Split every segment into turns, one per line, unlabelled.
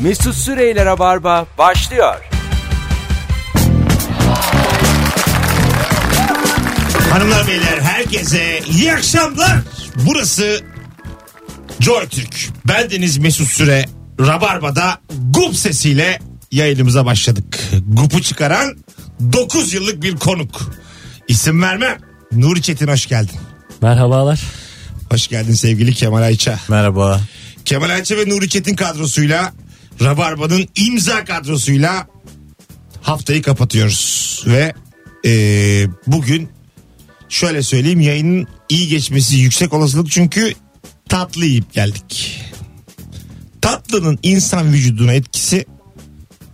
Mesut Süreyler'e barba başlıyor.
Hanımlar beyler herkese iyi akşamlar. Burası Joy Türk. Ben Deniz Mesut Süre. Rabarba'da gup sesiyle yayınımıza başladık. Gupu çıkaran 9 yıllık bir konuk. İsim vermem. Nuri Çetin hoş geldin.
Merhabalar.
Hoş geldin sevgili Kemal Ayça.
Merhaba.
Kemal Ayça ve Nuri Çetin kadrosuyla Rabarba'nın imza kadrosuyla haftayı kapatıyoruz. Ve eee, bugün şöyle söyleyeyim yayının iyi geçmesi yüksek olasılık çünkü tatlı yiyip geldik. Tatlının insan vücuduna etkisi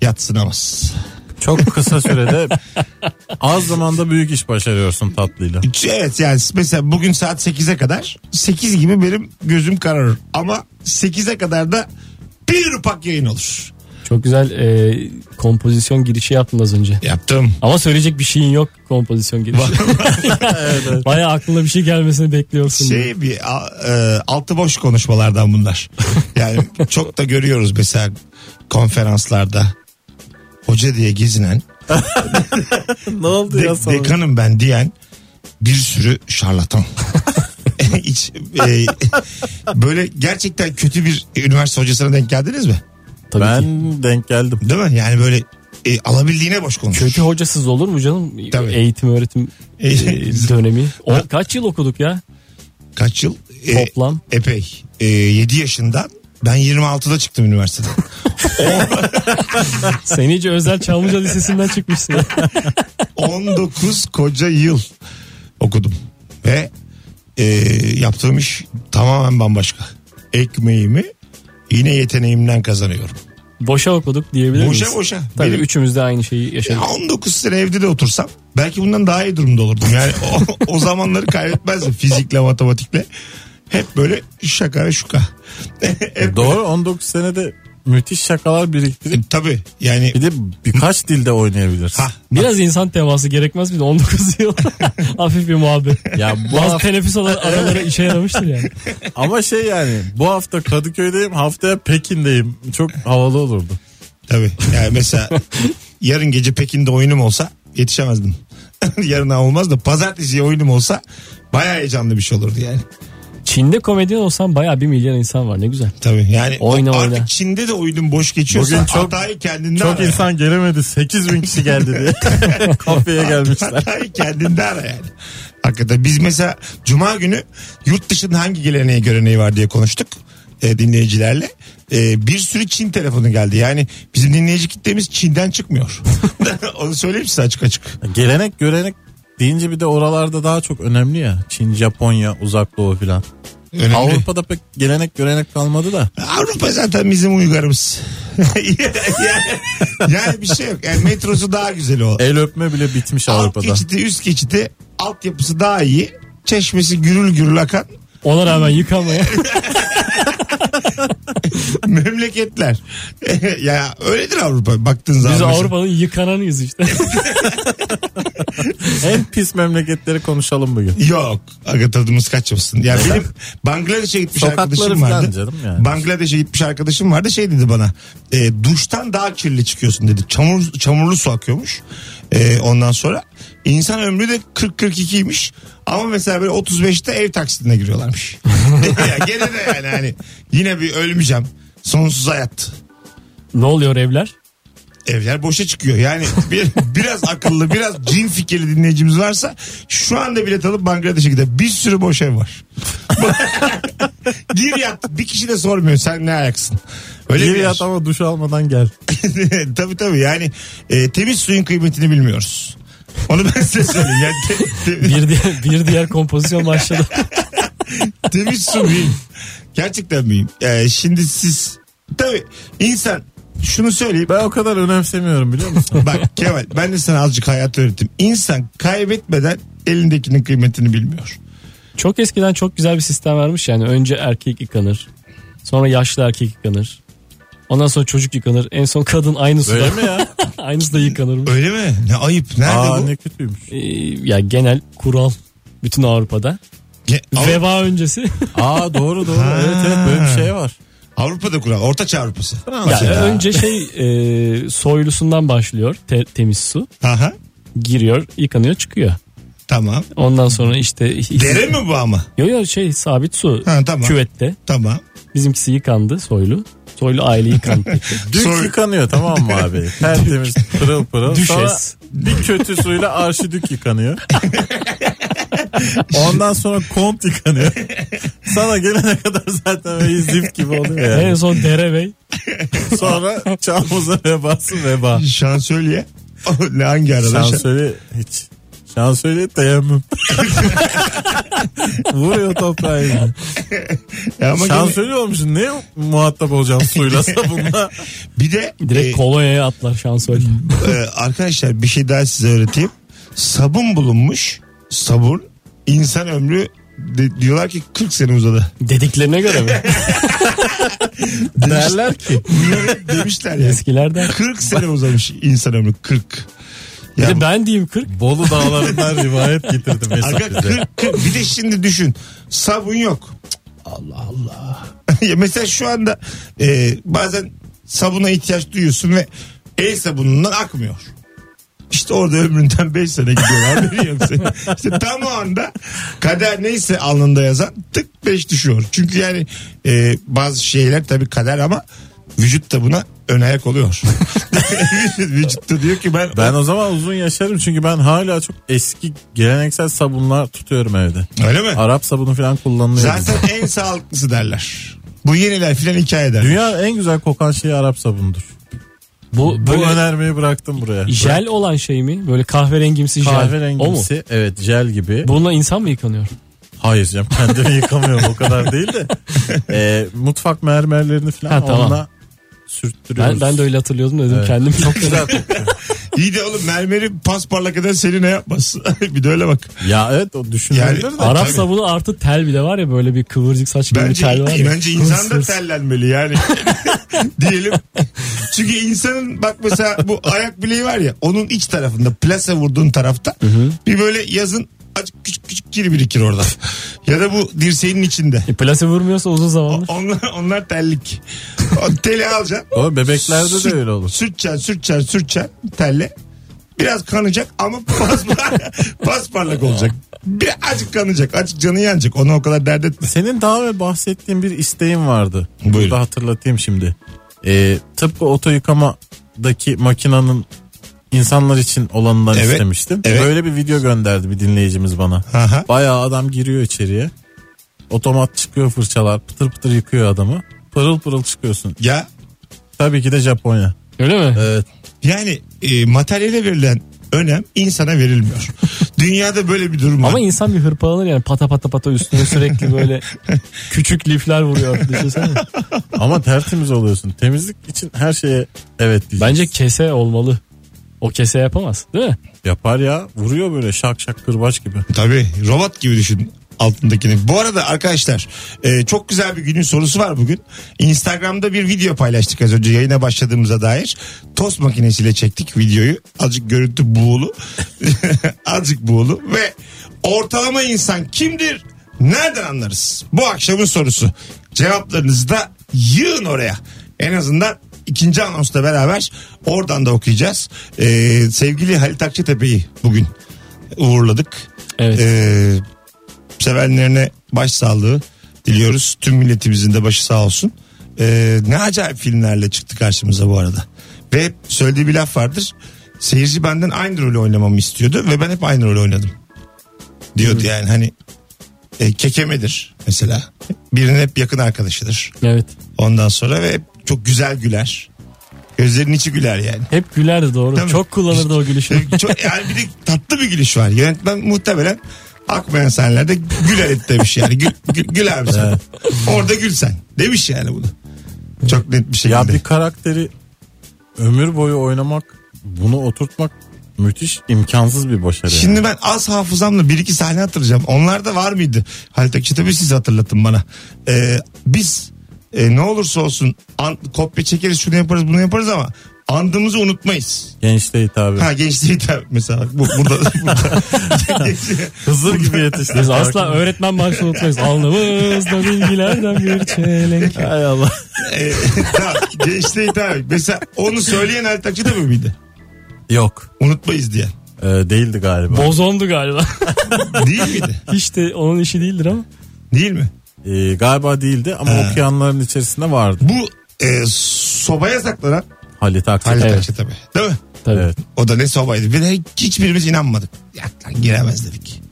yatsınamaz.
Çok kısa sürede az zamanda büyük iş başarıyorsun tatlıyla.
Evet yani mesela bugün saat 8'e kadar 8 gibi benim gözüm kararır. Ama 8'e kadar da bir ufak yayın olur.
Çok güzel e, kompozisyon girişi yaptın az önce.
Yaptım.
Ama söyleyecek bir şeyin yok kompozisyon girişi. Baya aklına bir şey gelmesini bekliyorsun.
şey bir a- e, altı boş konuşmalardan bunlar. Yani çok da görüyoruz mesela konferanslarda hoca diye gezinen
ne oldu
de- dekanım ben diyen bir sürü şarlatan. Hiç, e, böyle gerçekten kötü bir üniversite hocasına denk geldiniz mi?
Tabii
Ben
ki.
denk geldim.
Değil mi? Yani böyle e, alabildiğine boş konuşur.
Kötü hocasız olur mu canım?
Tabii.
Eğitim öğretim e, dönemi. O, kaç yıl okuduk ya
Kaç yıl? E,
toplam?
epey. E, 7 yaşından ben 26'da çıktım üniversiteden.
Sen iyice özel Çamlıca Lisesi'nden çıkmışsın.
19 koca yıl okudum. Ve e, yaptığım iş tamamen bambaşka. Ekmeğimi yine yeteneğimden kazanıyorum.
boşa okuduk diyebilir miyiz?
Boşa boşa.
Tabii
Benim-
üçümüz de aynı şeyi yaşadık.
Ya 19 sene evde de otursam belki bundan daha iyi durumda olurdum. Yani o, o zamanları kaybetmezdim fizikle matematikle. Hep böyle şaka ve şuka. Hep,
E, Doğru 19 senede müthiş şakalar biriktirip
tabii yani
bir de birkaç dilde oynayabilirsin.
ha,
Biraz insan teması gerekmez mi? 19 yıl hafif bir muhabbet.
Ya bu
Bazı
hafta-
teneffüs olan araları işe yaramıştır yani.
ama şey yani bu hafta Kadıköy'deyim haftaya Pekin'deyim. Çok havalı olurdu.
Tabii. Yani mesela yarın gece Pekin'de oyunum olsa yetişemezdim. Yarına olmaz da pazartesi oyunum olsa bayağı heyecanlı bir şey olurdu yani.
Çin'de komedyen olsan bayağı bir milyar insan var ne güzel.
Tabii yani
Oyna,
artık
oyna.
Çin'de de oyunum boş geçiyorsa
Bugün çok-
hatayı kendinden
Çok
ara.
insan gelemedi 8 bin kişi geldi diye kafeye gelmişler.
Hatayı kendinde ara yani. Hakikaten biz mesela cuma günü yurt dışında hangi geleneği göreneği var diye konuştuk e, dinleyicilerle. E, bir sürü Çin telefonu geldi. Yani bizim dinleyici kitlemiz Çin'den çıkmıyor. Onu söyleyeyim size açık açık.
Gelenek görenek deyince bir de oralarda daha çok önemli ya. Çin, Japonya, uzak doğu filan.
Önemli.
Avrupa'da pek gelenek görenek kalmadı da.
Avrupa zaten bizim uygarımız. yani, yani bir şey yok. Yani metrosu daha güzel o.
El öpme bile bitmiş
Alt
Avrupa'da.
geçidi üst geçidi altyapısı daha iyi. Çeşmesi gürül gürül akan
Ona rağmen yıkamaya.
memleketler. ya öyledir Avrupa baktığın zaman.
Biz
mesela.
Avrupa'nın yıkananıyız işte.
En pis memleketleri konuşalım bugün.
Yok. Aga tadımız kaçmasın. Ya benim Bangladeş'e gitmiş
Sokakları
arkadaşım
falan
vardı.
canım yani.
Bangladeş'e gitmiş arkadaşım vardı. Şey dedi bana. E, duştan daha kirli çıkıyorsun dedi. Çamur, çamurlu su akıyormuş. E, ondan sonra insan ömrü de 40-42'ymiş. Ama mesela böyle 35'te ev taksidine giriyorlarmış. ya gene de yani hani yine bir ölmeyeceğim. Sonsuz hayat.
ne oluyor evler?
Evler boşa çıkıyor. Yani bir, biraz akıllı, biraz cin fikirli dinleyicimiz varsa şu anda bilet alıp Bangladeş'e gider. Bir sürü boş ev var. Gir yat. Bir kişi de sormuyor sen ne ayaksın. Öyle
Gir
bir
yat ama duş almadan gel.
yer. tabii tabii yani e, temiz suyun kıymetini bilmiyoruz. Onu ben size söyleyeyim. Yani te- te-
Bir diğer, bir diğer kompozisyon başladı.
Temiz su miyim? Gerçekten miyim? E, şimdi siz tabii insan şunu söyleyeyim.
Ben o kadar önemsemiyorum biliyor musun?
Bak Kemal ben de sana azıcık hayat öğrettim. İnsan kaybetmeden elindekinin kıymetini bilmiyor.
Çok eskiden çok güzel bir sistem varmış yani. Önce erkek yıkanır. Sonra yaşlı erkek yıkanır. Ondan sonra çocuk yıkanır. En son kadın aynı suda.
Öyle mi ya?
aynı suda yıkanırmış.
Öyle mi? Ne ayıp. Nerede
Aa
bu?
ne kötüymüş.
Ee, ya genel kural bütün Avrupa'da.
Ge- Avru-
Veba öncesi.
Aa doğru doğru. evet evet böyle bir şey var.
Avrupa'da kural. Orta Avrupa'sı.
Ya,
Mesela.
önce şey e, soylusundan başlıyor te- temiz su.
Aha,
Giriyor, yıkanıyor, çıkıyor.
tamam.
Ondan sonra işte...
Dere mi bu ama?
Yo yo şey sabit su
Ha, tamam.
küvette.
Tamam.
Bizimkisi yıkandı soylu. Soylu aile yıkandı.
Dük
Sonra-
yıkanıyor tamam mı abi? Tertemiz pırıl pırıl.
Düşes.
Sonra bir kötü suyla arşidük yıkanıyor. Ondan sonra kont yıkanıyor. Sana gelene kadar zaten böyle zift gibi oluyor
en
yani.
son dere bey.
Sonra çağımıza vebası veba.
Şansölye. ne hangi arada?
Şansölye hiç. Şansölye teyemmüm. Vuruyor toprağı yine.
Ya ama gene-
Şansölye olmuşsun. Ne muhatap olacağım suyla sabunla?
bir de
Direkt
e,
kolonyaya atlar şansölye.
e, arkadaşlar bir şey daha size öğreteyim. Sabun bulunmuş. Sabun insan ömrü de- diyorlar ki 40 sene uzadı.
Dediklerine göre mi?
Derler ki.
Demişler yani.
Eskilerden.
40 sene uzamış insan ömrü 40.
Bir
Ya
de ben diyeyim 40.
Bolu dağlarından rivayet getirdim Mesut
Aga
bize.
40, 40 bir de şimdi düşün sabun yok. Cık, Allah Allah. Ya Mesela şu anda e, bazen sabuna ihtiyaç duyuyorsun ve el sabunundan akmıyor. İşte orada ömründen 5 sene gidiyor haberi yok senin. İşte tam o anda kader neyse alnında yazan tık 5 düşüyor. Çünkü yani e, bazı şeyler tabii kader ama vücut da buna ön ayak oluyor. vücut da diyor ki ben,
Ben o zaman uzun yaşarım çünkü ben hala çok eski geleneksel sabunlar tutuyorum evde.
öyle mi?
Arap sabunu falan kullanılıyor. bizde.
Zaten en sağlıklısı derler. Bu yeniler filan hikaye derler.
Dünya en güzel kokan şeyi Arap sabunudur.
Bu,
Bu
böyle
önermeyi bıraktım buraya.
jel olan şey mi? Böyle kahverengimsi jel. O mu?
Kahverengisi evet jel gibi.
Bununla insan mı yıkanıyor?
Hayır canım kendimi yıkamıyorum o kadar değil de. Ee, mutfak mermerlerini falan
Ha, tamam.
onunla sürttürüyoruz.
Ben, ben de öyle hatırlıyordum da dedim
Evet.
kendim çok
Güzel kokuyor.
İyi de oğlum mermeri pasparlak eden seni ne yapmaz? bir de öyle bak.
ya evet o düşünülebilir
Yani-
de.
Arap
Tabii.
sabunu artı tel bile var ya böyle bir kıvırcık saç gibi bir
Bence,
tel var ya.
bence insan da
Hırs hırs.
tellenmeli yani. Diyelim. Çünkü insanın bak mesela bu ayak bileği var ya onun iç tarafında plase vurduğun tarafta bir böyle yazın azıcık küçük küçük kir birikir orada. ya da bu dirseğinin içinde.
E, plase vurmuyorsa uzun zamandır.
Onlar, onlar tellik. O teli alacaksın.
O bebeklerde
Sürt-
de öyle olur.
Sürteceksin, sürteceksin, sürteceksin telle. Biraz kanacak ama pas parlak olacak. Birazcık kanacak. Azıcık canı yanacak. Ona o kadar dert etme.
Senin daha ve bahsettiğin bir isteğin vardı.
Buyurun.
Bunu da hatırlatayım şimdi. Ee, tıpkı oto yıkamadaki makinanın insanlar için olanından
Evet,
istemiştim.
evet.
Böyle bir video gönderdi bir dinleyicimiz bana.
Aha.
Bayağı adam giriyor içeriye. Otomat çıkıyor fırçalar pıtır pıtır yıkıyor adamı. Pırıl pırıl çıkıyorsun.
Ya
Tabii ki de Japonya.
Öyle mi?
Evet.
yani e, materyale verilen önem insana verilmiyor. Dünyada böyle bir durum var.
Ama insan bir hırpalanır yani pata pata pata üstüne sürekli böyle küçük lifler vuruyor. Düşünsene.
Ama tertemiz oluyorsun. Temizlik için her şeye evet diyeceğiz.
Bence kese olmalı. O kese yapamaz değil mi?
yapar ya. Vuruyor böyle şak şak kırbaç gibi.
Tabii robot gibi düşün altındakini. Bu arada arkadaşlar e, çok güzel bir günün sorusu var bugün. Instagram'da bir video paylaştık az önce yayına başladığımıza dair. Tost makinesiyle çektik videoyu. Azıcık görüntü buğulu. Azıcık buğulu ve ortalama insan kimdir? Nereden anlarız? Bu akşamın sorusu. Cevaplarınızı da yığın oraya. En azından ikinci anonsla beraber oradan da okuyacağız. E, sevgili Halit Akçatepe'yi bugün uğurladık.
Evet.
Ee, sevenlerine başsağlığı diliyoruz. Tüm milletimizin de başı sağ olsun. Ee, ne acayip filmlerle çıktı karşımıza bu arada. Ve hep söylediği bir laf vardır. Seyirci benden aynı rolü oynamamı istiyordu ve ben hep aynı rolü oynadım. Diyordu yani hani e, kekemedir mesela. Birinin hep yakın arkadaşıdır.
Evet.
Ondan sonra ve hep çok güzel güler. Gözlerinin içi güler yani.
Hep gülerdi doğru.
Tabii.
Çok kullanırdı o gülüşü.
Ee, Çok, yani bir de tatlı bir gülüş var. Yönetmen muhtemelen akmayan sahnelerde güler et demiş yani. Gül, gül, gül abi sen. Orada gül sen. Demiş yani bunu. Çok net bir şekilde.
Ya bir karakteri ömür boyu oynamak, bunu oturtmak müthiş imkansız bir başarı. yani.
Şimdi ben az hafızamla bir iki sahne hatırlayacağım. Onlar da var mıydı? Halit Akçatepe siz hatırlatın bana. Ee, biz e, ne olursa olsun an, kopya çekeriz şunu yaparız bunu yaparız ama andığımızı unutmayız.
Gençte hitabı.
Ha gençliği de mesela bak bu, burada, burada.
Hızır gibi yetişti.
Biz asla öğretmen maaşını unutmayız. Alnımızda bilgilerden bir çelenk.
Hay Allah.
Ee, tamam, gençliği de mesela onu söyleyen Ali Takçı da mı mıydı?
Yok.
Unutmayız diye.
Ee, değildi galiba.
Bozondu galiba.
Değil miydi?
Hiç de onun işi değildir ama.
Değil mi?
Ee, galiba değildi ama okuyanların içerisinde vardı.
Bu e, sobaya saklanan
Halit Akçak.
Ali
Evet.
Takçı tabii. Değil mi?
Tabii.
Evet.
O da ne sobaydı. Bir de hiçbirimiz inanmadık. Ya lan giremez dedik.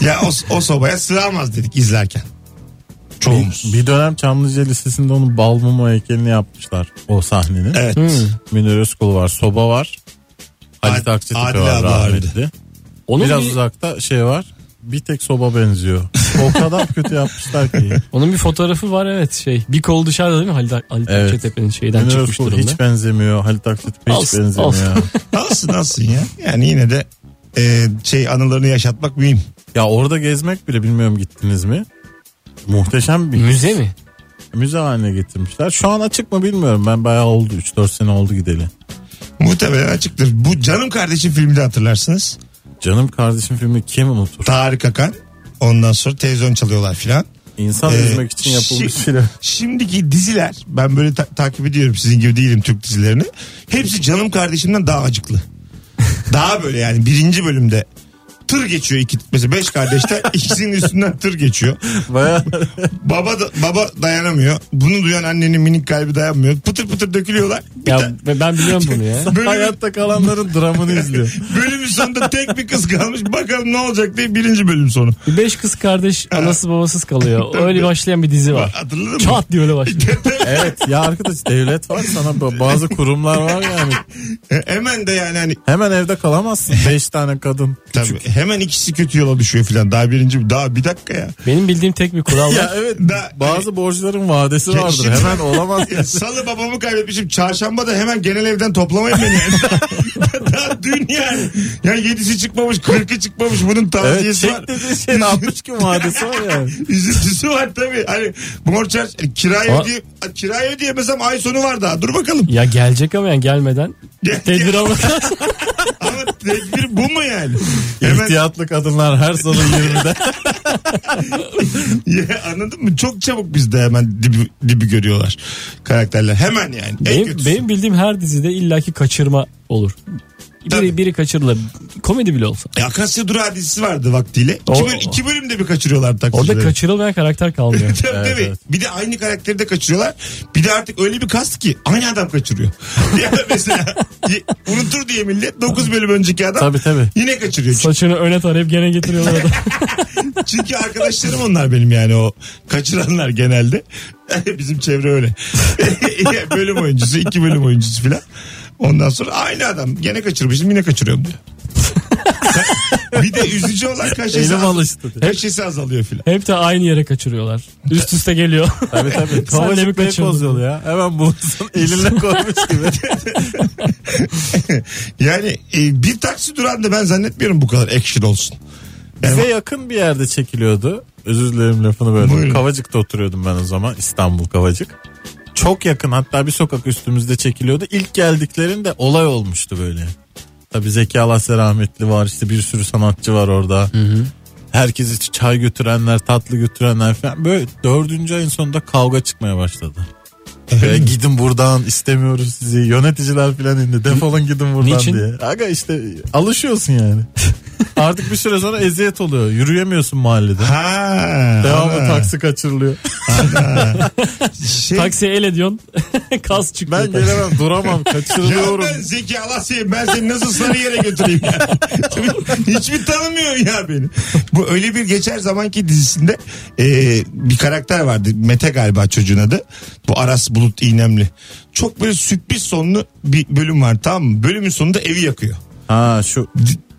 ya o, o sobaya sığamaz dedik izlerken. Çoğumuz.
Bir dönem Çamlıca Lisesi'nde onun bal mumu heykelini yapmışlar. O sahnenin.
Evet.
Münir Özkul var. Soba var. Halit
Ad-
Akçak
Adile
var
abla
rahmetli.
Onun
Biraz
bir,
uzakta şey var. Bir tek soba benziyor. O kadar kötü yapmışlar ki.
onun bir fotoğrafı var evet şey. Bir kol dışarıda değil mi Halit, Halit
Evet.
Akçatepe'nin şeyden
Münir
çıkmış
Özkul
durumda.
hiç benzemiyor. Halit Akçatepe hiç
Olsun,
benzemiyor.
olsun.
Alsın alsın ya. Yani yine de e, şey anılarını yaşatmak mühim.
Ya orada gezmek bile bilmiyorum gittiniz mi? Muhteşem bir
Müze mi?
müze haline getirmişler. Şu an açık mı bilmiyorum. Ben bayağı oldu 3-4 sene oldu gideli.
Muhtemelen açıktır. Bu Canım Kardeşim filmde hatırlarsınız.
Canım kardeşim filmi kim unutur?
Tarık Akan. Ondan sonra televizyon çalıyorlar filan.
İnsan
Ee,
üzmek için yapılmış
şi-
film.
Şimdiki diziler ben böyle ta- takip ediyorum sizin gibi değilim Türk dizilerini. Hepsi canım kardeşimden daha acıklı. daha böyle yani birinci bölümde tır geçiyor iki mesela beş kardeşten ikisinin üstünden tır geçiyor.
Bayağı
Baba da- baba dayanamıyor. Bunu duyan annenin minik kalbi dayanmıyor. Pıtır pıtır dökülüyorlar. Bir
Ya
ta-
ben ben biliyorum bunu ya.
Bölümün-
hayatta kalanların dramını izliyor.
bölümün sonunda tek bir kız kalmış. Bakalım ne olacak diye birinci bölüm sonu.
Bir Beş kız kardeş anası babasız kalıyor. Öyle başlayan bir dizi var.
Hatırladın mı?
Çat diye öyle başlıyor.
Evet ya arkadaş devlet var sana ba- bazı kurumlar var yani.
E, Hemen de yani hani
Hemen evde kalamazsın. 5 tane kadın.
tabii, hemen ikisi kötü yola düşüyor filan. Daha birinci daha bir dakika ya.
Benim bildiğim tek bir kural
Ya
var.
evet
Da-
bazı borçların vadesi
Ya
vardır.
şimdi-
Hemen olamaz.
Ya Salı babamı kaybetmişim. Çarşamba da hemen genel evden toplamayın beni. Yani. Daha dün yani. Ya yedisi çıkmamış, kırkı çıkmamış. Bunun
Evet
tavsiyesi
çek
var.
dediğin şey şeyin 60 gün vadesi var yani.
Üzüntüsü var tabii. Hani borçlar kirayı
Ama-
ödeyip kirayı ödeyemesem ay sonu var daha. Dur bakalım.
Ya gelecek ama yani gelmeden tedbir almak lazım.
Ama tedbir bu mu yani? Hemen
İhtiyatlı kadınlar her salı 20'de.
Ya, anladın mı? Çok çabuk bizde hemen dibi, dibi görüyorlar karakterler. Hemen yani. en
benim,
kötüsü.
benim bildiğim her dizide illaki kaçırma olur.
Tabii.
Biri, biri kaçırılır. Komedi bile olsa.
E, Akasya Durağı dizisi vardı vaktiyle. İki,
O-
böl- iki bölümde bir kaçırıyorlar
Orada
taksicileri.
kaçırılmayan karakter kalmıyor.
Tabii
Evet,
tabii.
evet.
Bir de aynı karakteri de kaçırıyorlar. Bir de artık öyle bir kast ki aynı adam kaçırıyor. ya mesela y- unutur diye millet 9 bölüm önceki adam
tabii tabii.
yine kaçırıyor. Çünkü,
Saçını öne tarayıp gene getiriyorlar adam.
çünkü arkadaşlarım onlar benim yani o kaçıranlar genelde. Bizim çevre öyle. Ya bölüm oyuncusu, iki bölüm oyuncusu filan. Ondan sonra aynı adam gene kaçırmışım yine kaçırıyorum diyor. Ka- bir de üzücü olan kaşesi,
Elim
az-
alıştı.
kaşesi azalıyor filan.
Hep de aynı yere kaçırıyorlar. Üst üste geliyor.
Tabii tabii.
Sen de bir
Kavacık
kaçırdın.
Beykoz ya. Hemen bulutun eline koymuş gibi.
Yani e, bir taksi durağında ben zannetmiyorum bu kadar action olsun.
Bize yakın bir yerde çekiliyordu. Özür dilerim lafını böldüm.
Buyurun.
Kavacık'ta oturuyordum ben o zaman. İstanbul Kavacık. Çok yakın hatta bir sokak üstümüzde çekiliyordu. İlk geldiklerinde olay olmuştu böyle. Tabi Zeki Alasya rahmetli var işte bir sürü sanatçı var orada. Herkes için çay götürenler tatlı götürenler falan. Böyle dördüncü ayın sonunda kavga çıkmaya başladı. Böyle gidin buradan istemiyoruz sizi yöneticiler falan indi defolun gidin buradan
Niçin?
diye. Aga işte alışıyorsun yani. Artık bir süre sonra eziyet oluyor. Yürüyemiyorsun mahallede.
Ha.
Devamlı
ana.
taksi kaçırılıyor.
Şey,
Taksiye el ediyorsun. Kas çıkıyor.
Ben gelemem duramam
Ya
kaçırılıyorum.
ben Zeki Alasya'yım ben seni nasıl Sarıyer'e götüreyim ya. Hiçbir tanımıyor ya beni. Bu öyle bir geçer zamanki dizisinde e, bir karakter vardı. Mete galiba çocuğun adı. Bu Aras Bulut İğnemli. Çok böyle sürpriz sonlu bir bölüm var tamam mı? Bölümün sonunda evi yakıyor.
Ha şu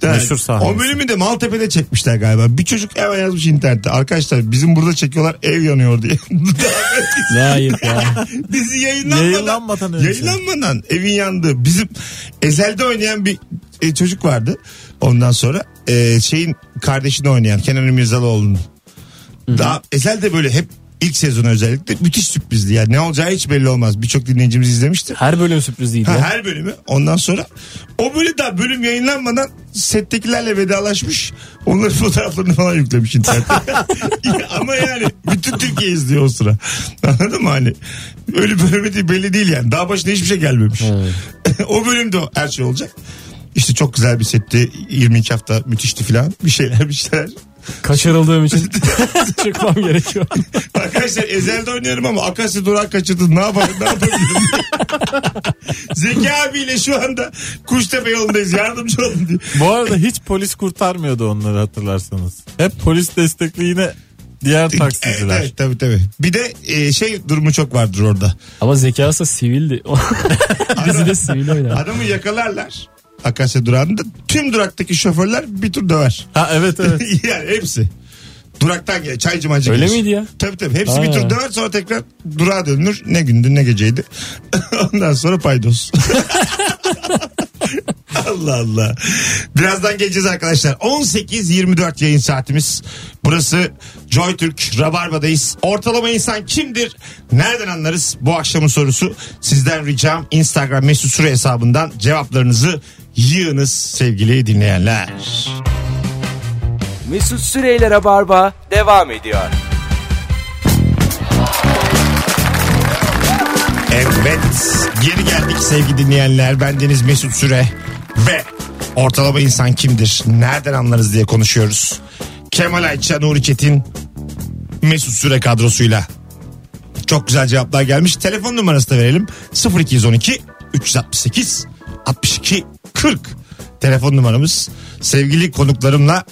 Evet.
meşhur sahne.
O bölümü de Maltepe'de çekmişler galiba. Bir çocuk eve yazmış internette. Arkadaşlar bizim burada çekiyorlar ev yanıyor diye.
Ne ayıp ya.
Dizi yayınlanmadan,
Yayınlanmadan önce.
yayınlanmadan evin yandığı bizim ezelde oynayan bir e, çocuk vardı. Ondan sonra e, şeyin kardeşini oynayan Kenan Mirzalıoğlu'nun. Daha ezelde böyle hep İlk sezonu özellikle müthiş sürprizdi. Yani ne olacağı hiç belli olmaz. Birçok dinleyicimiz izlemiştir.
Her bölüm sürpriz değil
Ha,
ya.
her bölümü. Ondan sonra o böyle daha bölüm yayınlanmadan settekilerle vedalaşmış. Onların fotoğraflarını falan yüklemiş internete. Ya Ama yani bütün Türkiye izliyor o sıra. Anladın mı hani? Öyle bölümü değil, belli değil yani. Daha başına hiçbir şey gelmemiş. o bölümde o- her şey olacak. İşte çok güzel bir setti. 22 hafta müthişti falan. Bir şeyler bir şeyler.
Kaçırıldığım için çıkmam gerekiyor.
Arkadaşlar ezelde oynuyorum ama Akasya Durak kaçırdım. Ne yapalım ne yapabilirim? Zeki abiyle şu anda Kuştepe yolundayız. Yardımcı olun diye.
Bu arada hiç polis kurtarmıyordu onları hatırlarsanız. Hep polis destekli yine diğer
Evet,
taksiciler.
evet tabii tabii. Bir de e, şey durumu çok vardır orada.
Ama zekası sivildi. Dizide sivil oynar.
Adamı yakalarlar. Akasya durağında tüm duraktaki şoförler bir tur döver.
Ha evet evet.
yani hepsi. Duraktan gel çaycı macı
Öyle
gelir.
miydi ya?
Tabii tabii hepsi bir
Aa.
tur döver sonra tekrar durağa dönülür. Ne gündü ne geceydi. Ondan sonra paydos. Allah Allah. Birazdan geleceğiz arkadaşlar. 18-24 yayın saatimiz. Burası Joy Türk Rabarba'dayız. Ortalama insan kimdir? Nereden anlarız? Bu akşamın sorusu sizden ricam Instagram mesut süre hesabından cevaplarınızı yığınız sevgili dinleyenler.
Mesut Süreyler'e barba devam ediyor.
Evet geri geldik sevgili dinleyenler bendeniz Mesut Süre ve ortalama insan kimdir nereden anlarız diye konuşuyoruz. Kemal Ayça, Nuri Çetin, Mesut Süre kadrosuyla. Çok güzel cevaplar gelmiş. Telefon numarası da verelim. 0212 368 62 40. Telefon numaramız. Sevgili konuklarımla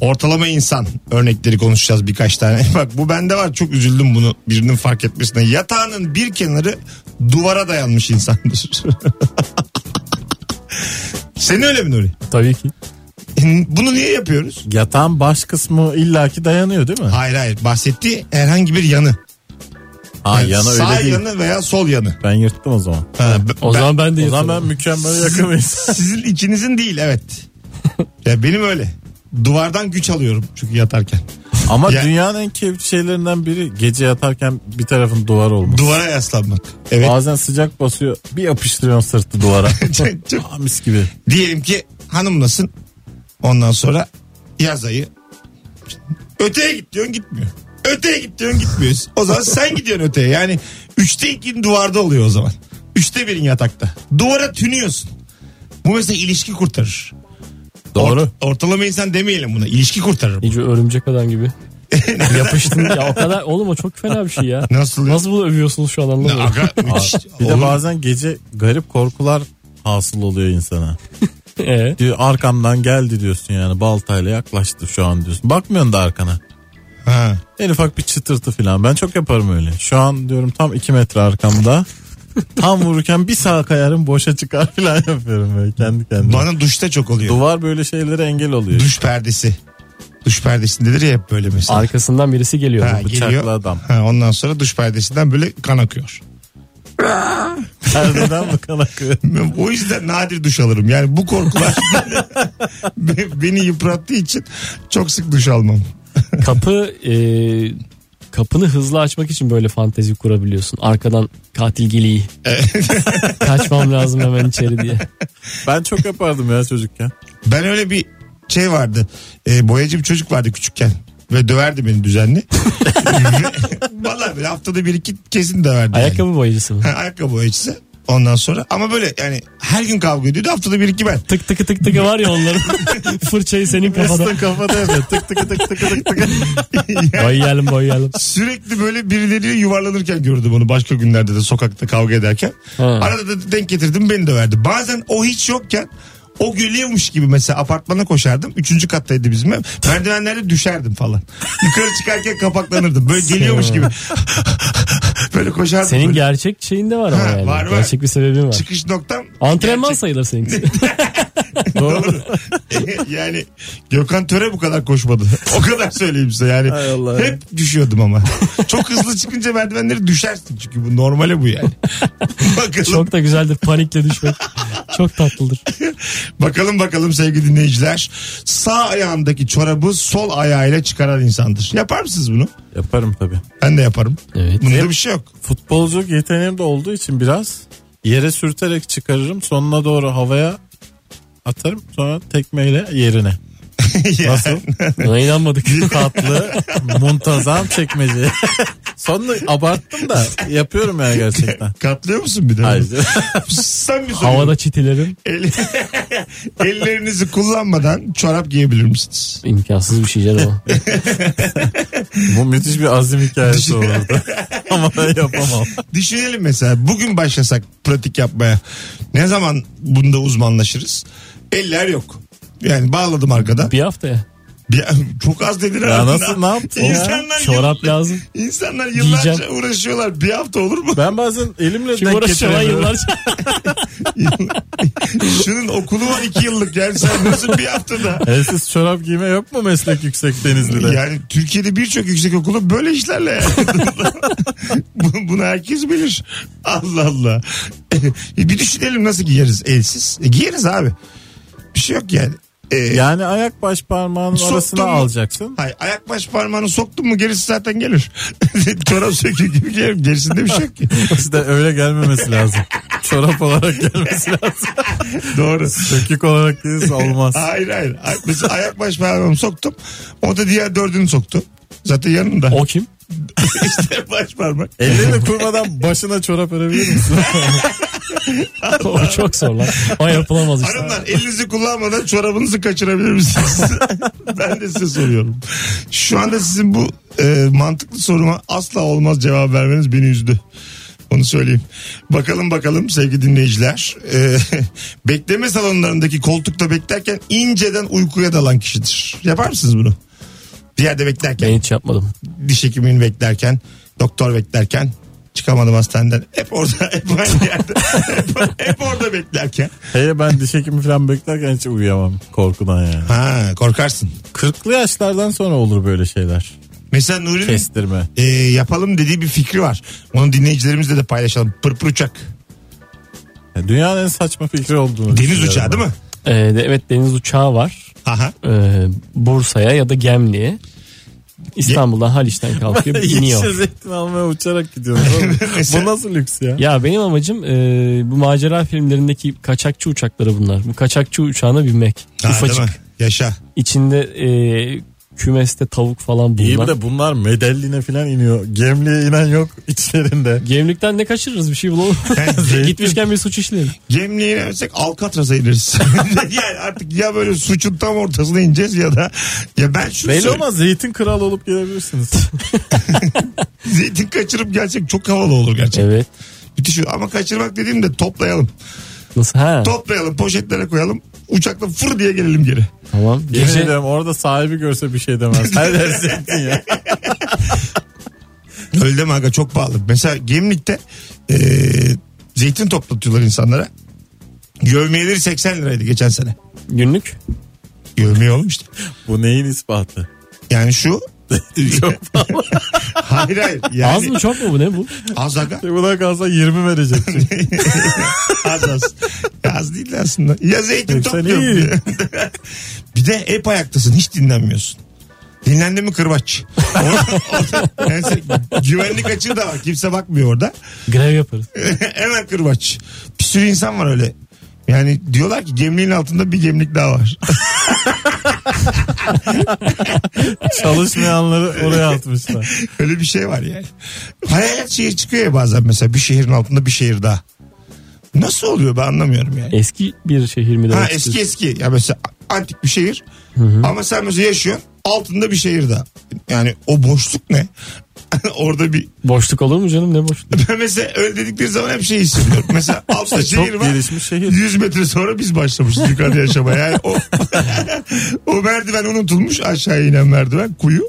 ortalama insan örnekleri konuşacağız birkaç tane. Bak bu bende var çok üzüldüm bunu birinin fark etmesine. Yatağının bir kenarı duvara dayanmış insandır. Senin öyle mi Nuri?
Tabii ki.
Bunu niye yapıyoruz?
Yatağın baş kısmı illaki dayanıyor değil mi?
Hayır hayır bahsettiği herhangi bir yanı.
Ha yana
Sağ
öyle değil.
yanı veya sol yanı.
Ben yırttım o zaman.
Ha, b-
O
ben-
zaman ben de
O zaman ben
yatarım.
mükemmel yakın insan.
Sizin ikinizin değil evet. ya benim öyle. Duvardan güç alıyorum çünkü yatarken.
Ama
Ya-
dünyanın en keyifli şeylerinden biri gece yatarken bir tarafın duvar olması.
Duvara yaslanmak. Evet.
Bazen sıcak basıyor bir yapıştırıyorsun sırtı duvara.
Çok- çok-
Aa, mis gibi.
Diyelim ki hanımlasın. Ondan sonra yaz ayı. Öteye git diyorsun gitmiyor. Öteye git diyorsun gitmiyor. O zaman sen gidiyorsun öteye. Yani üçte ikin duvarda oluyor o zaman. Üçte birin yatakta. Duvara tünüyorsun. Bu mesela ilişki kurtarır.
Doğru.
Ort- ortalama insan demeyelim buna. İlişki kurtarır. bu.
İyice örümcek adam gibi. Yapıştın ya o kadar oğlum o çok fena bir şey ya.
Nasıl?
Nasıl bunu övüyorsunuz şu an
Ne,
anlamıyorum.
aga, müthiş.
Bir de
Oğlum,
bazen gece garip korkular hasıl oluyor insana.
Ee,
Diyor arkamdan geldi diyorsun yani baltayla yaklaştı şu an diyorsun. Bakmıyorsun da arkana.
ha.
En ufak bir çıtırtı falan. Ben çok yaparım öyle. Şu an diyorum tam 2 metre arkamda. tam vururken bir sağa kayarım boşa çıkar falan yapıyorum böyle kendi kendime.
Bana duşta çok oluyor.
Duvar böyle şeylere engel oluyor.
Duş perdesi. Duş perdesindedir ya hep böyle mesela.
arkasından birisi geliyor.
Ha,
bıçaklı
geliyor.
adam.
Ha, ondan sonra duş perdesinden böyle kan akıyor.
Perdeden mi kan akıyor?
Ben O yüzden nadir duş alırım. Yani bu korkular beni, beni yıprattığı için çok sık duş almam.
Kapı e, kapını hızlı açmak için böyle fantezi kurabiliyorsun. Arkadan katil geliği. Kaçmam lazım hemen içeri diye.
Ben çok yapardım ya çocukken.
Ben öyle bir şey vardı. E, boyacı bir çocuk vardı küçükken. Ve döverdi beni düzenli. Ve- Vallahi böyle haftada bir iki kesin döverdi. yani.
Ayakkabı boyacısı mı?
Ha, ayakkabı boyacısı. Ondan sonra ama böyle yani her gün kavga ediyordu haftada bir iki ben.
Tık tıkı tık tıkı var ya onların. Fırçayı senin kafada.
Kafada kafada evet. Tık tık tık tık tık tık.
Boyayalım boyayalım.
Sürekli böyle birileriyle yuvarlanırken gördüm onu başka günlerde de sokakta kavga ederken.
Ha.
Arada da denk getirdim beni döverdi. Bazen o hiç yokken o gülüyormuş gibi mesela apartmana koşardım. Üçüncü kattaydı bizim ev. Merdivenlerde düşerdim falan. Yukarı çıkarken kapaklanırdım. Böyle geliyormuş gibi. böyle koşardım.
Senin
böyle.
gerçek şeyin de var ama
Ha,
yani.
var, var.
Gerçek bir sebebin var.
Çıkış noktam.
Antrenman
gerçek-
sayılır seninkisi.
Doğru. E, yani Gökhan Töre bu kadar koşmadı. O kadar söyleyeyim size yani.
Hay Allah.
Hep düşüyordum ama. Çok hızlı çıkınca merdivenleri düşersin çünkü bu normale bu yani. Bakalım.
Çok da güzeldir panikle düşmek. Çok tatlıdır.
Bakalım bakalım sevgili dinleyiciler. Sağ ayağındaki çorabı sol ayağıyla çıkaran insandır. Yapar mısınız bunu?
Yaparım tabii.
Ben de yaparım.
Evet.
Bunda bir şey yok.
Futbolcu yeteneğim de olduğu için biraz yere sürterek çıkarırım. Sonuna doğru havaya atarım. Sonra tekmeyle yerine.
Ya,
Nasıl?
Buna inanmadık.
Tatlı, muntazam çekmece. Sonunu abarttım da yapıyorum ya gerçekten.
Katlıyor musun bir de?
Hayır.
Sen bir soru.
Havada çitilerim
El- ellerinizi kullanmadan çorap giyebilir misiniz?
imkansız bir şey canım. o.
Bu müthiş bir azim hikayesi olurdu. Ama ben yapamam.
Düşünelim mesela bugün başlasak pratik yapmaya. Ne zaman bunda uzmanlaşırız? Eller yok. Yani bağladım arkada.
Bir hafta ya.
Bir- çok az dedin
Ya
aslında.
nasıl, ne yaptın ya?
İnsanlar, yıl-
Çorap lazım.
insanlar yıllarca
Giyeceğim.
uğraşıyorlar. Bir hafta olur mu?
Ben bazen elimle
Kim
denk
uğraşıyor lan
getiremiyorum.
yıllarca?
Şunun okulu var iki yıllık yani sen nasıl bir haftada?
Elsiz çorap giyme yok mu meslek yüksek denizlide?
Yani Türkiye'de birçok yüksek okulu böyle işlerle yani. Bu- Bunu herkes bilir. Allah Allah. E, bir düşünelim nasıl giyeriz elsiz. E, giyeriz abi. Bir şey yok yani. E,
Yani ayak baş parmağının
Soktun
arasına
mu?
alacaksın.
Hay, ayak baş parmağını soktun mu gerisi zaten gelir. Çorap söküğü gibi gelir. Gerisinde bir şey yok ki.
İşte öyle gelmemesi lazım. Çorap olarak gelmesi lazım.
Doğru.
Sökük olarak değilse olmaz.
Hayır hayır. Ay- Mesela ayak baş parmağımı soktum. O da diğer dördünü soktu. Zaten yanında.
O kim?
işte baş parmak.
Ellerini kurmadan başına çorap örebilir misin?
o çok zor lan. O yapılamaz işte.
Hanımlar elinizi kullanmadan çorabınızı kaçırabilir misiniz? ben de size soruyorum. Şu anda sizin bu e, mantıklı soruma asla olmaz cevap vermeniz beni üzdü. Onu söyleyeyim. Bakalım bakalım sevgili dinleyiciler. E, bekleme salonlarındaki koltukta beklerken inceden uykuya dalan kişidir. Yapar mısınız bunu? Bir yerde beklerken,
Ben hiç yapmadım.
diş hekimini beklerken, doktor beklerken çıkamadım hastaneden. Hep orada, hep aynı yerde. hep, hep orada beklerken.
Hele ben diş hekimi falan beklerken hiç uyuyamam korkudan yani.
Ha korkarsın.
Kırklı yaşlardan sonra olur böyle şeyler.
Mesela Nuri'nin
Kestirme.
e, yapalım dediği bir fikri var. Onu dinleyicilerimizle de paylaşalım. Pırpır uçak.
Ya Dünyanın en saçma fikri olduğunu
Deniz
düşünüyorum
uçağı
ben.
değil mi?
Ee, de- evet deniz uçağı var.
Aha.
Ee, Bursa'ya ya da Gemli'ye. İstanbul'dan Haliç'ten kalkıyor
Yeşil
iniyor.
zeytin almaya uçarak gidiyorsun. oğlum.
Mesela-
Bu nasıl lüks ya?
Ya benim amacım e, bu macera filmlerindeki kaçakçı uçakları bunlar. Bu kaçakçı uçağına binmek.
Ha, değil mi?
Ufacık.
Yaşa.
İçinde e, kümeste tavuk falan
İyi bir
bulunan.
de bunlar medelline falan iniyor. Gemliğe inen yok içlerinde.
Gemlikten ne kaçırırız bir şey bulalım. Gitmişken bir suç işleyelim.
Gemliğe inersek Alcatraz'a ineriz. yani artık ya böyle suçun tam ortasına ineceğiz ya da ya ben şunu
Belli
söyleyeyim.
olmaz zeytin kral olup gelebilirsiniz.
Zeytin kaçırıp gelsek çok havalı olur gerçekten.
Evet.
Müthiş olur. Ama kaçırmak dediğim de toplayalım.
Nasıl? Ha.
Toplayalım poşetlere koyalım. Uçakla fır diye gelelim geri.
Tamam.
Yemin
Gece
ediyorum orada sahibi görse bir şey demez. Her yer zeytin ya.
Öyle deme aga çok pahalı. Mesela Gemlik'te e, zeytin toplatıyorlar insanlara. Gövmeyeleri 80 liraydı geçen sene.
günlük.
Gövmeye olmuştu.
Bu neyin ispatı?
Yani şu
Çok
hayır hayır. Yani,
Az mı çok mu bu ne bu?
Az aga.
Buna kalsa 20 vereceksin.
Az az. Ya az değil de aslında. Ya zeytin
80
topluyorum.
iyi.
diye. bir de hep ayaktasın hiç dinlenmiyorsun. Dinlendi mi kırbaç. Orada, orada- yani sen- güvenlik açığı da var. Kimse bakmıyor orada.
Grev yaparız.
Hemen kırbaç. Bir sürü insan var öyle. Yani diyorlar ki gemliğin altında bir gemlik daha var.
Çalışmayanları oraya atmışlar.
Öyle bir şey var yani. Hayalet şehir çıkıyor ya bazen mesela bir şehrin altında bir şehir daha. Nasıl oluyor ben anlamıyorum yani.
Eski bir şehir mi demek
Ha eski
istiyorsun?
eski. Ya mesela antik bir şehir. Ama sen mesela yaşıyorsun altında bir şehir daha. Yani o boşluk ne? Orada bir
Boşluk olur mu canım ne boşluk?
ben mesela öyle dedikleri zaman hep şey hissediyorum. Mesela altta şehir
Çok
var.
gelişmiş şehir.
100 metre sonra biz başlamışız yukarıda yaşamaya. Yani o, o merdiven unutulmuş aşağıya inen merdiven kuyu.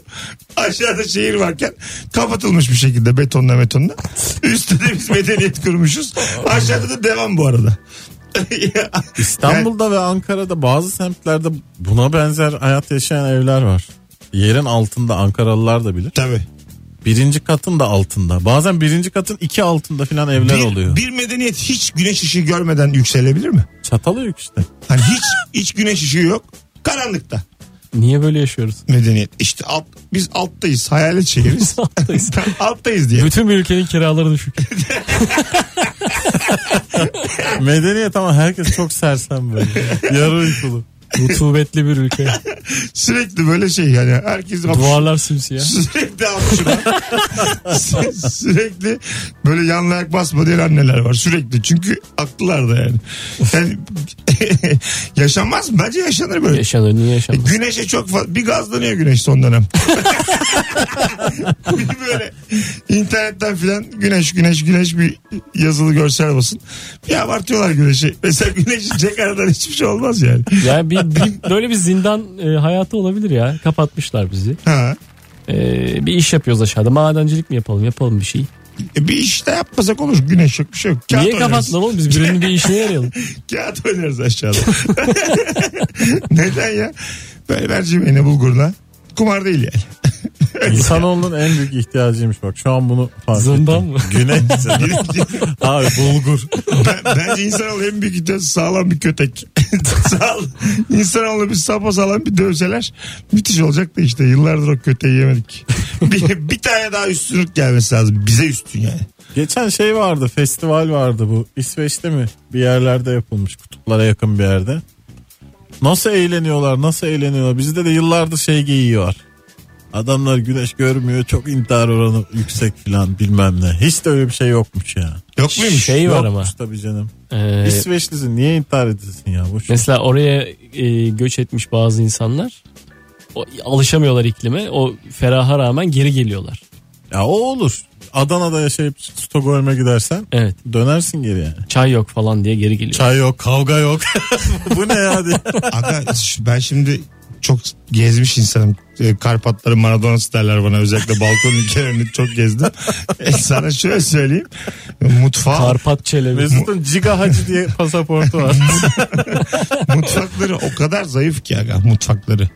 Aşağıda şehir varken kapatılmış bir şekilde betonla betonla. Üstte de biz medeniyet kurmuşuz. Aşağıda da devam bu arada.
İstanbul'da ve Ankara'da bazı semtlerde buna benzer hayat yaşayan evler var. Yerin altında Ankaralılar da bilir.
Tabii.
Birinci katın da altında. Bazen birinci katın iki altında filan evler
Bir,
oluyor.
bir medeniyet hiç güneş ışığı görmeden yükselebilir mi?
Çatalı yük işte.
Hani hiç hiç güneş ışığı yok. Karanlıkta
Niye böyle yaşıyoruz?
medeniyet. İşte alt, biz alttayız. Hayalet şehiriz.
Alttayız.
alttayız diye.
Bütün bir ülkenin kiraları düşük.
Medeniyet ama herkes çok sersem böyle. Yarı uykulu.
Rutubetli bir ülke.
Sürekli böyle şey yani. Herkes
Duvarlar simsiyah.
Sürekli almışlar. Sü- sürekli böyle yan ayak basma diyen anneler var. Sürekli. Çünkü aklılar da yani. yani yaşanmaz mı? Bence yaşanır böyle.
Yaşanır niye
E,
yaşanmaz?
Güneşe çok fazla bir gazlanıyor güneş son dönem. bir böyle internetten filan güneş güneş güneş bir yazılı görsel basın. Bir abartıyorlar güneşi. Mesela güneş çek aradan hiçbir şey olmaz yani.
Ya bir, bir- böyle bir zindan e, hayatı olabilir ya. Kapatmışlar bizi.
Ha.
E, bir iş yapıyoruz aşağıda. Madencilik mi yapalım? Yapalım bir şey.
E, bir işte yapmasak olur. Güneş yok bir şey yok. Kağıt
Niye
oynarız.
kapattılar oğlum? Biz birinin bir işine yarayalım.
Kağıt oynarız aşağıda. Neden ya? Böyle mercimeğine bulgurla. Kumar değil yani.
İnsanoğlunun en büyük ihtiyacıymış bak. Şu an bunu fark ettim.
Zından mı?
Güneş. Abi bulgur.
Ben, bence insanoğlu en büyük ihtiyacı sağlam bir kötek. Sağ, insanoğlu bir sapa sağlam bir dövseler müthiş olacak da işte yıllardır o köteği yemedik. bir, bir tane daha üstünlük gelmesi lazım. Bize üstün yani.
Geçen şey vardı festival vardı bu İsveç'te mi bir yerlerde yapılmış kutuplara yakın bir yerde. Nasıl eğleniyorlar nasıl eğleniyorlar bizde de yıllardır şey geyiği var. Adamlar güneş görmüyor çok intihar oranı yüksek filan bilmem ne. Hiç de öyle bir şey yokmuş ya.
Yok muymuş?
Şey var ama.
Yokmuş tabii canım. Ee,
E,
İsveçlisin niye intihar edilsin ya boş. ver.
Mesela oraya e, göç etmiş bazı insanlar. O, alışamıyorlar iklime. O feraha rağmen geri geliyorlar.
Ya o olur. Adana'da yaşayıp Stockholm'e gidersen
Evet.
dönersin geri yani.
Çay yok falan diye geri geliyor.
Çay yok kavga yok. bu ne ya diye.
Aga ş- ben şimdi çok gezmiş insanım. Ee, Karpatları Maradona'sı derler bana. Özellikle balkon ülkelerini çok gezdim. E, sana şöyle söyleyeyim. Mutfağı,
Karpat Çelebi.
Mesut'un Ciga Hacı diye pasaportu var.
mutfakları o kadar zayıf ki aga mutfakları.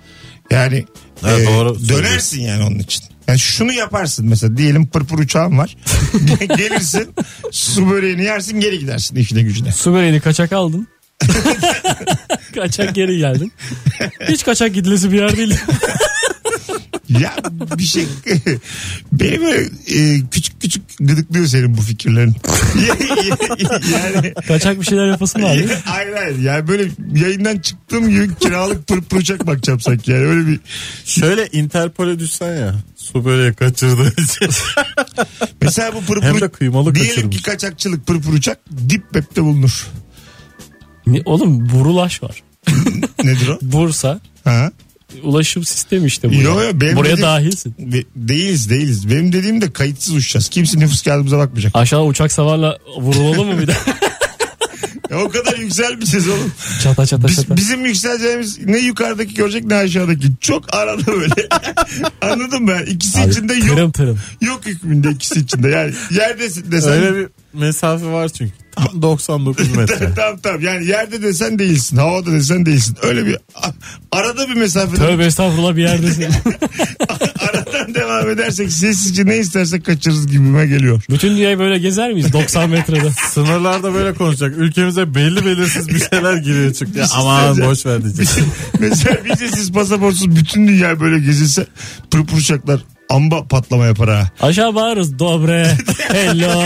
Yani
Ha,
e,
doğru
dönersin yani onun için. Yani şunu yaparsın mesela diyelim pırpır uçağın var. Gelirsin su böreğini yersin geri gidersin işine gücüne.
Su böreğini kaçak aldın. kaçak geri geldin. Hiç kaçak gidilesi bir yer değil.
Ya bir şey beni böyle e, küçük küçük gıdıklıyor senin bu fikirlerin. yani
kaçak bir şeyler yapasın var. değil mi?
hayır hayır yani böyle yayından çıktığım gibi kiralık pırpır uçak bakacağım sanki yani öyle bir
Şöyle Interpol'e düşsen ya. Su böyle kaçırdığı için.
mesela bu pırpır
Hem de kıymalı
diyelim
kaçırmış.
ki kaçakçılık pırpır uçak dip web'de bulunur
Ne- Oğlum Burulaş var.
nedir o
Bursa
ha?
ulaşım sistemi işte bu.
Yo,
ya.
yo, benim
Buraya
dediğim-
dahilsin.
Ve- değiliz değiliz benim dediğim de kayıtsız uçacağız kimse nüfus kağıdımıza bakmayacak
Aşağı uçak savarla vurulalım mı bir daha?
Ya E, o kadar yükselmişiz oğlum
Çata çata
Biz,
çata.
bizim yükseleceğimiz ne yukarıdaki görecek ne aşağıdaki. Çok arada böyle. Anladın mı? İkisi
Abi,
içinde yok.
tırım tırım.
Yok hükmünde ikisi içinde. Yani yerdesin desen.
Öyle bir mesafe var çünkü. Tam 99 metre.
tamam tamam. Yani yerde desen değilsin. Havada desen değilsin. Öyle bir a- arada bir mesafede
Tövbe estağfurullah bir yerdesin.
aradan devam edersek sessizce ne istersek kaçırırız gibime geliyor.
Bütün dünyayı böyle gezer miyiz 90 metrede?
Sınırlarda böyle konuşacak. Ülkemize belli belirsiz bir şey şeyler giriyor çıktı. Ya aman
söyleyeceğim.
boş ver diyecek.
Mesela vizesiz pasaportsuz bütün dünya böyle gezilse pırpır uçaklar amba patlama yapar ha.
Aşağı bağırırız. Dobre. Hello.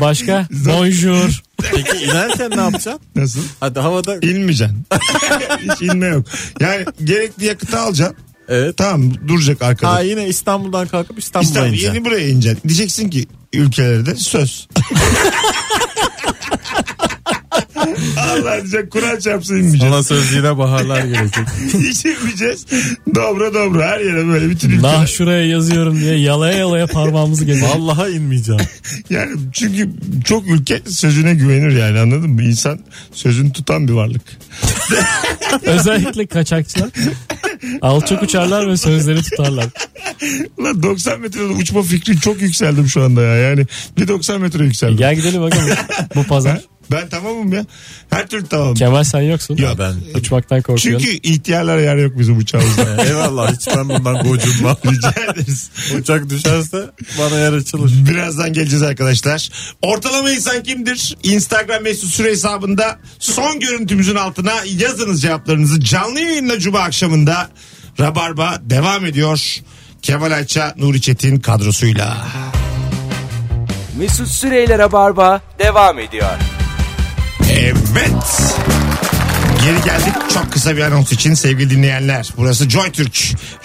Başka? Bonjour.
Peki şey inerken ne yapacaksın?
Nasıl?
Hadi havada.
İnmeyeceksin. Hiç inme yok. Yani gerekli yakıtı alacaksın.
Evet.
Tamam duracak arkada.
Ha yine İstanbul'dan kalkıp İstanbul'a
İstanbul
ineceksin.
yeni buraya ineceksin. Diyeceksin ki ülkelerde söz. Allah diyecek Kur'an çarpsın inmeyeceğiz.
Ona söz yine baharlar gelecek.
Hiç inmeyeceğiz. Dobra dobra her yere böyle bütün ülke.
Nah şuraya yazıyorum diye yalaya yalaya parmağımızı gezer.
Vallahi inmeyeceğim.
Yani çünkü çok ülke sözüne güvenir yani anladın mı? İnsan sözünü tutan bir varlık.
Özellikle kaçakçılar. Alçak uçarlar ve sözleri tutarlar.
Ulan 90 metrede uçma fikri çok yükseldim şu anda ya. Yani bir 90 metre yükseldim.
Gel gidelim bakalım bu pazar.
Ben tamamım ya. Her türlü tamamım.
Kemal sen yoksun.
Yok.
ben.
Uçmaktan korkuyorsun.
Çünkü ihtiyarlara yer yok bizim uçağımızda.
Eyvallah hiç ben bundan gocunmam.
Rica ederiz.
Uçak düşerse bana yer açılır.
Birazdan geleceğiz arkadaşlar. Ortalama insan kimdir? Instagram mesut süre hesabında son görüntümüzün altına yazınız cevaplarınızı. Canlı yayınla Cuma akşamında Rabarba devam ediyor. Kemal Ayça, Nuri Çetin kadrosuyla.
Mesut Süreyler'e barba devam ediyor.
Evet. Geri geldik çok kısa bir anons için sevgili dinleyenler. Burası Joy Türk.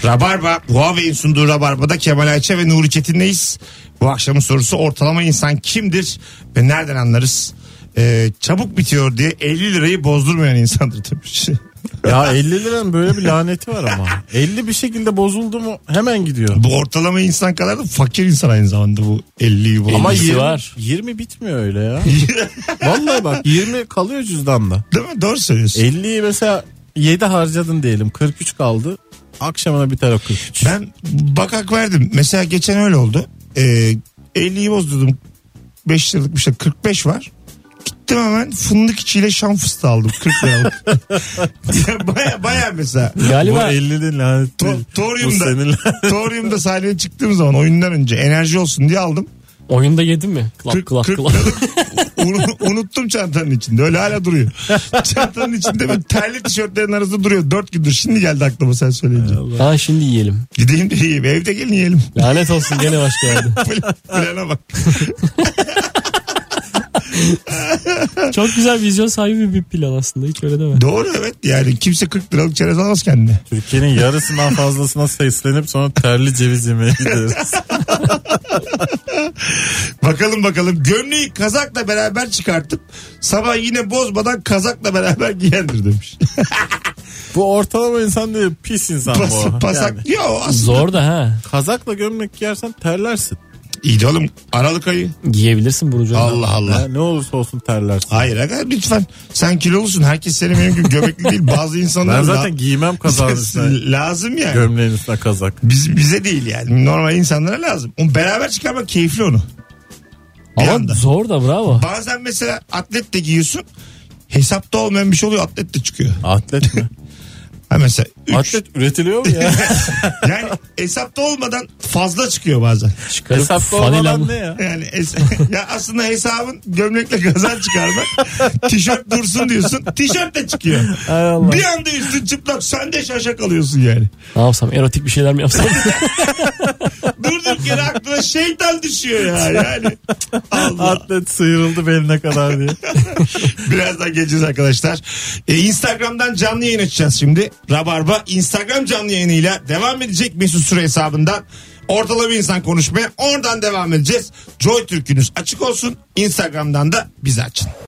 Rabarba, Huawei'in sunduğu Rabarba'da Kemal Ayça ve Nuri Çetin'leyiz. Bu akşamın sorusu ortalama insan kimdir ve nereden anlarız? Ee, çabuk bitiyor diye 50 lirayı bozdurmayan insandır demiş.
Ya 50 liranın böyle bir laneti var ama. 50 bir şekilde bozuldu mu hemen gidiyor.
bu ortalama insan kadar da fakir insan aynı zamanda bu 50'yi bu.
Ama
Ellisi
20,
var.
20 bitmiyor öyle ya. Vallahi bak 20 kalıyor cüzdanda.
Değil mi? Doğru söylüyorsun.
50'yi mesela 7 harcadın diyelim 43 kaldı. Akşamına biter o 43.
Ben bakak verdim. Mesela geçen öyle oldu. Ee, 50'yi bozdurdum. 5 liralık bir şey. 45 var. Gittim hemen fındık içiyle şam fıstığı aldım. 40 liralık. ya baya baya mesela.
Bu
Galiba
50'nin
To-
laneti. değil. Bu
Torium'da,
senin
Torium'da sahneye çıktığım zaman oyundan önce enerji olsun diye aldım.
oyunda yedin mi? Klap
40,
klap
40
klap.
liralık unu- unuttum çantanın içinde. Öyle hala duruyor. Çantanın içinde böyle terli tişörtlerin arasında duruyor. 4 gündür. Şimdi geldi aklıma sen söyleyince.
Ha şimdi yiyelim.
Gideyim de yiyeyim. Evde gelin yiyelim.
Lanet olsun gene başka yerde.
Plan- Plana bak.
Çok güzel vizyon sahibi bir plan aslında. Hiç öyle deme.
Doğru evet yani kimse 40 liralık çerez almaz kendine.
Türkiye'nin yarısından fazlasına seslenip sonra terli ceviz yemeye gideriz.
Bakalım bakalım gömleği kazakla beraber çıkartıp sabah yine bozmadan kazakla beraber giyendir demiş.
bu ortalama insan değil pis insan bu.
Pas, pasak.
Yani
Yo aslında.
Zor da ha.
kazakla gömlek giyersen terlersin.
İyi de oğlum Aralık ayı.
Giyebilirsin Burcu. Hanım.
Allah
Ha,
Allah.
ne olursa olsun terlersin.
Hayır aga lütfen sen kilolusun herkes seni benim gibi göbekli değil bazı insanlar
Ben
la-
zaten giymem kazağın üstüne.
lazım ya. Yani.
Gömleğin üstüne kazak.
Biz, bize değil yani normal insanlara lazım. Onu beraber çıkarmak keyifli onu. Bir anda.
Ama zor da bravo.
Bazen mesela atlet de giyiyorsun hesapta olmayan bir şey oluyor atlet de çıkıyor.
Atlet mi?
Ha mesela üç-
Atlet üretiliyor mu ya?
Yani hesapta olmadan fazla çıkıyor bazen.
Çıkarıp
Hesapta
fanila
olmadan
mı?
ne ya?
Yani es- ya aslında hesabın gömlekle kazan çıkarmak. tişört dursun diyorsun. Tişört de çıkıyor.
Hay Allah.
Bir anda üstün çıplak sen de şaşa kalıyorsun yani.
Ne yapsam erotik bir şeyler mi yapsam?
Durduk yere aklına şeytan düşüyor ya yani. Allah.
Atlet sıyrıldı beline kadar diye.
Birazdan geleceğiz arkadaşlar. Ee, Instagram'dan canlı yayın açacağız şimdi. Rabarba Instagram canlı yayınıyla devam edecek Mesut Süre hesabından. Ortalama insan konuşmaya oradan devam edeceğiz. Joy Türk'ünüz açık olsun. Instagram'dan da bizi açın.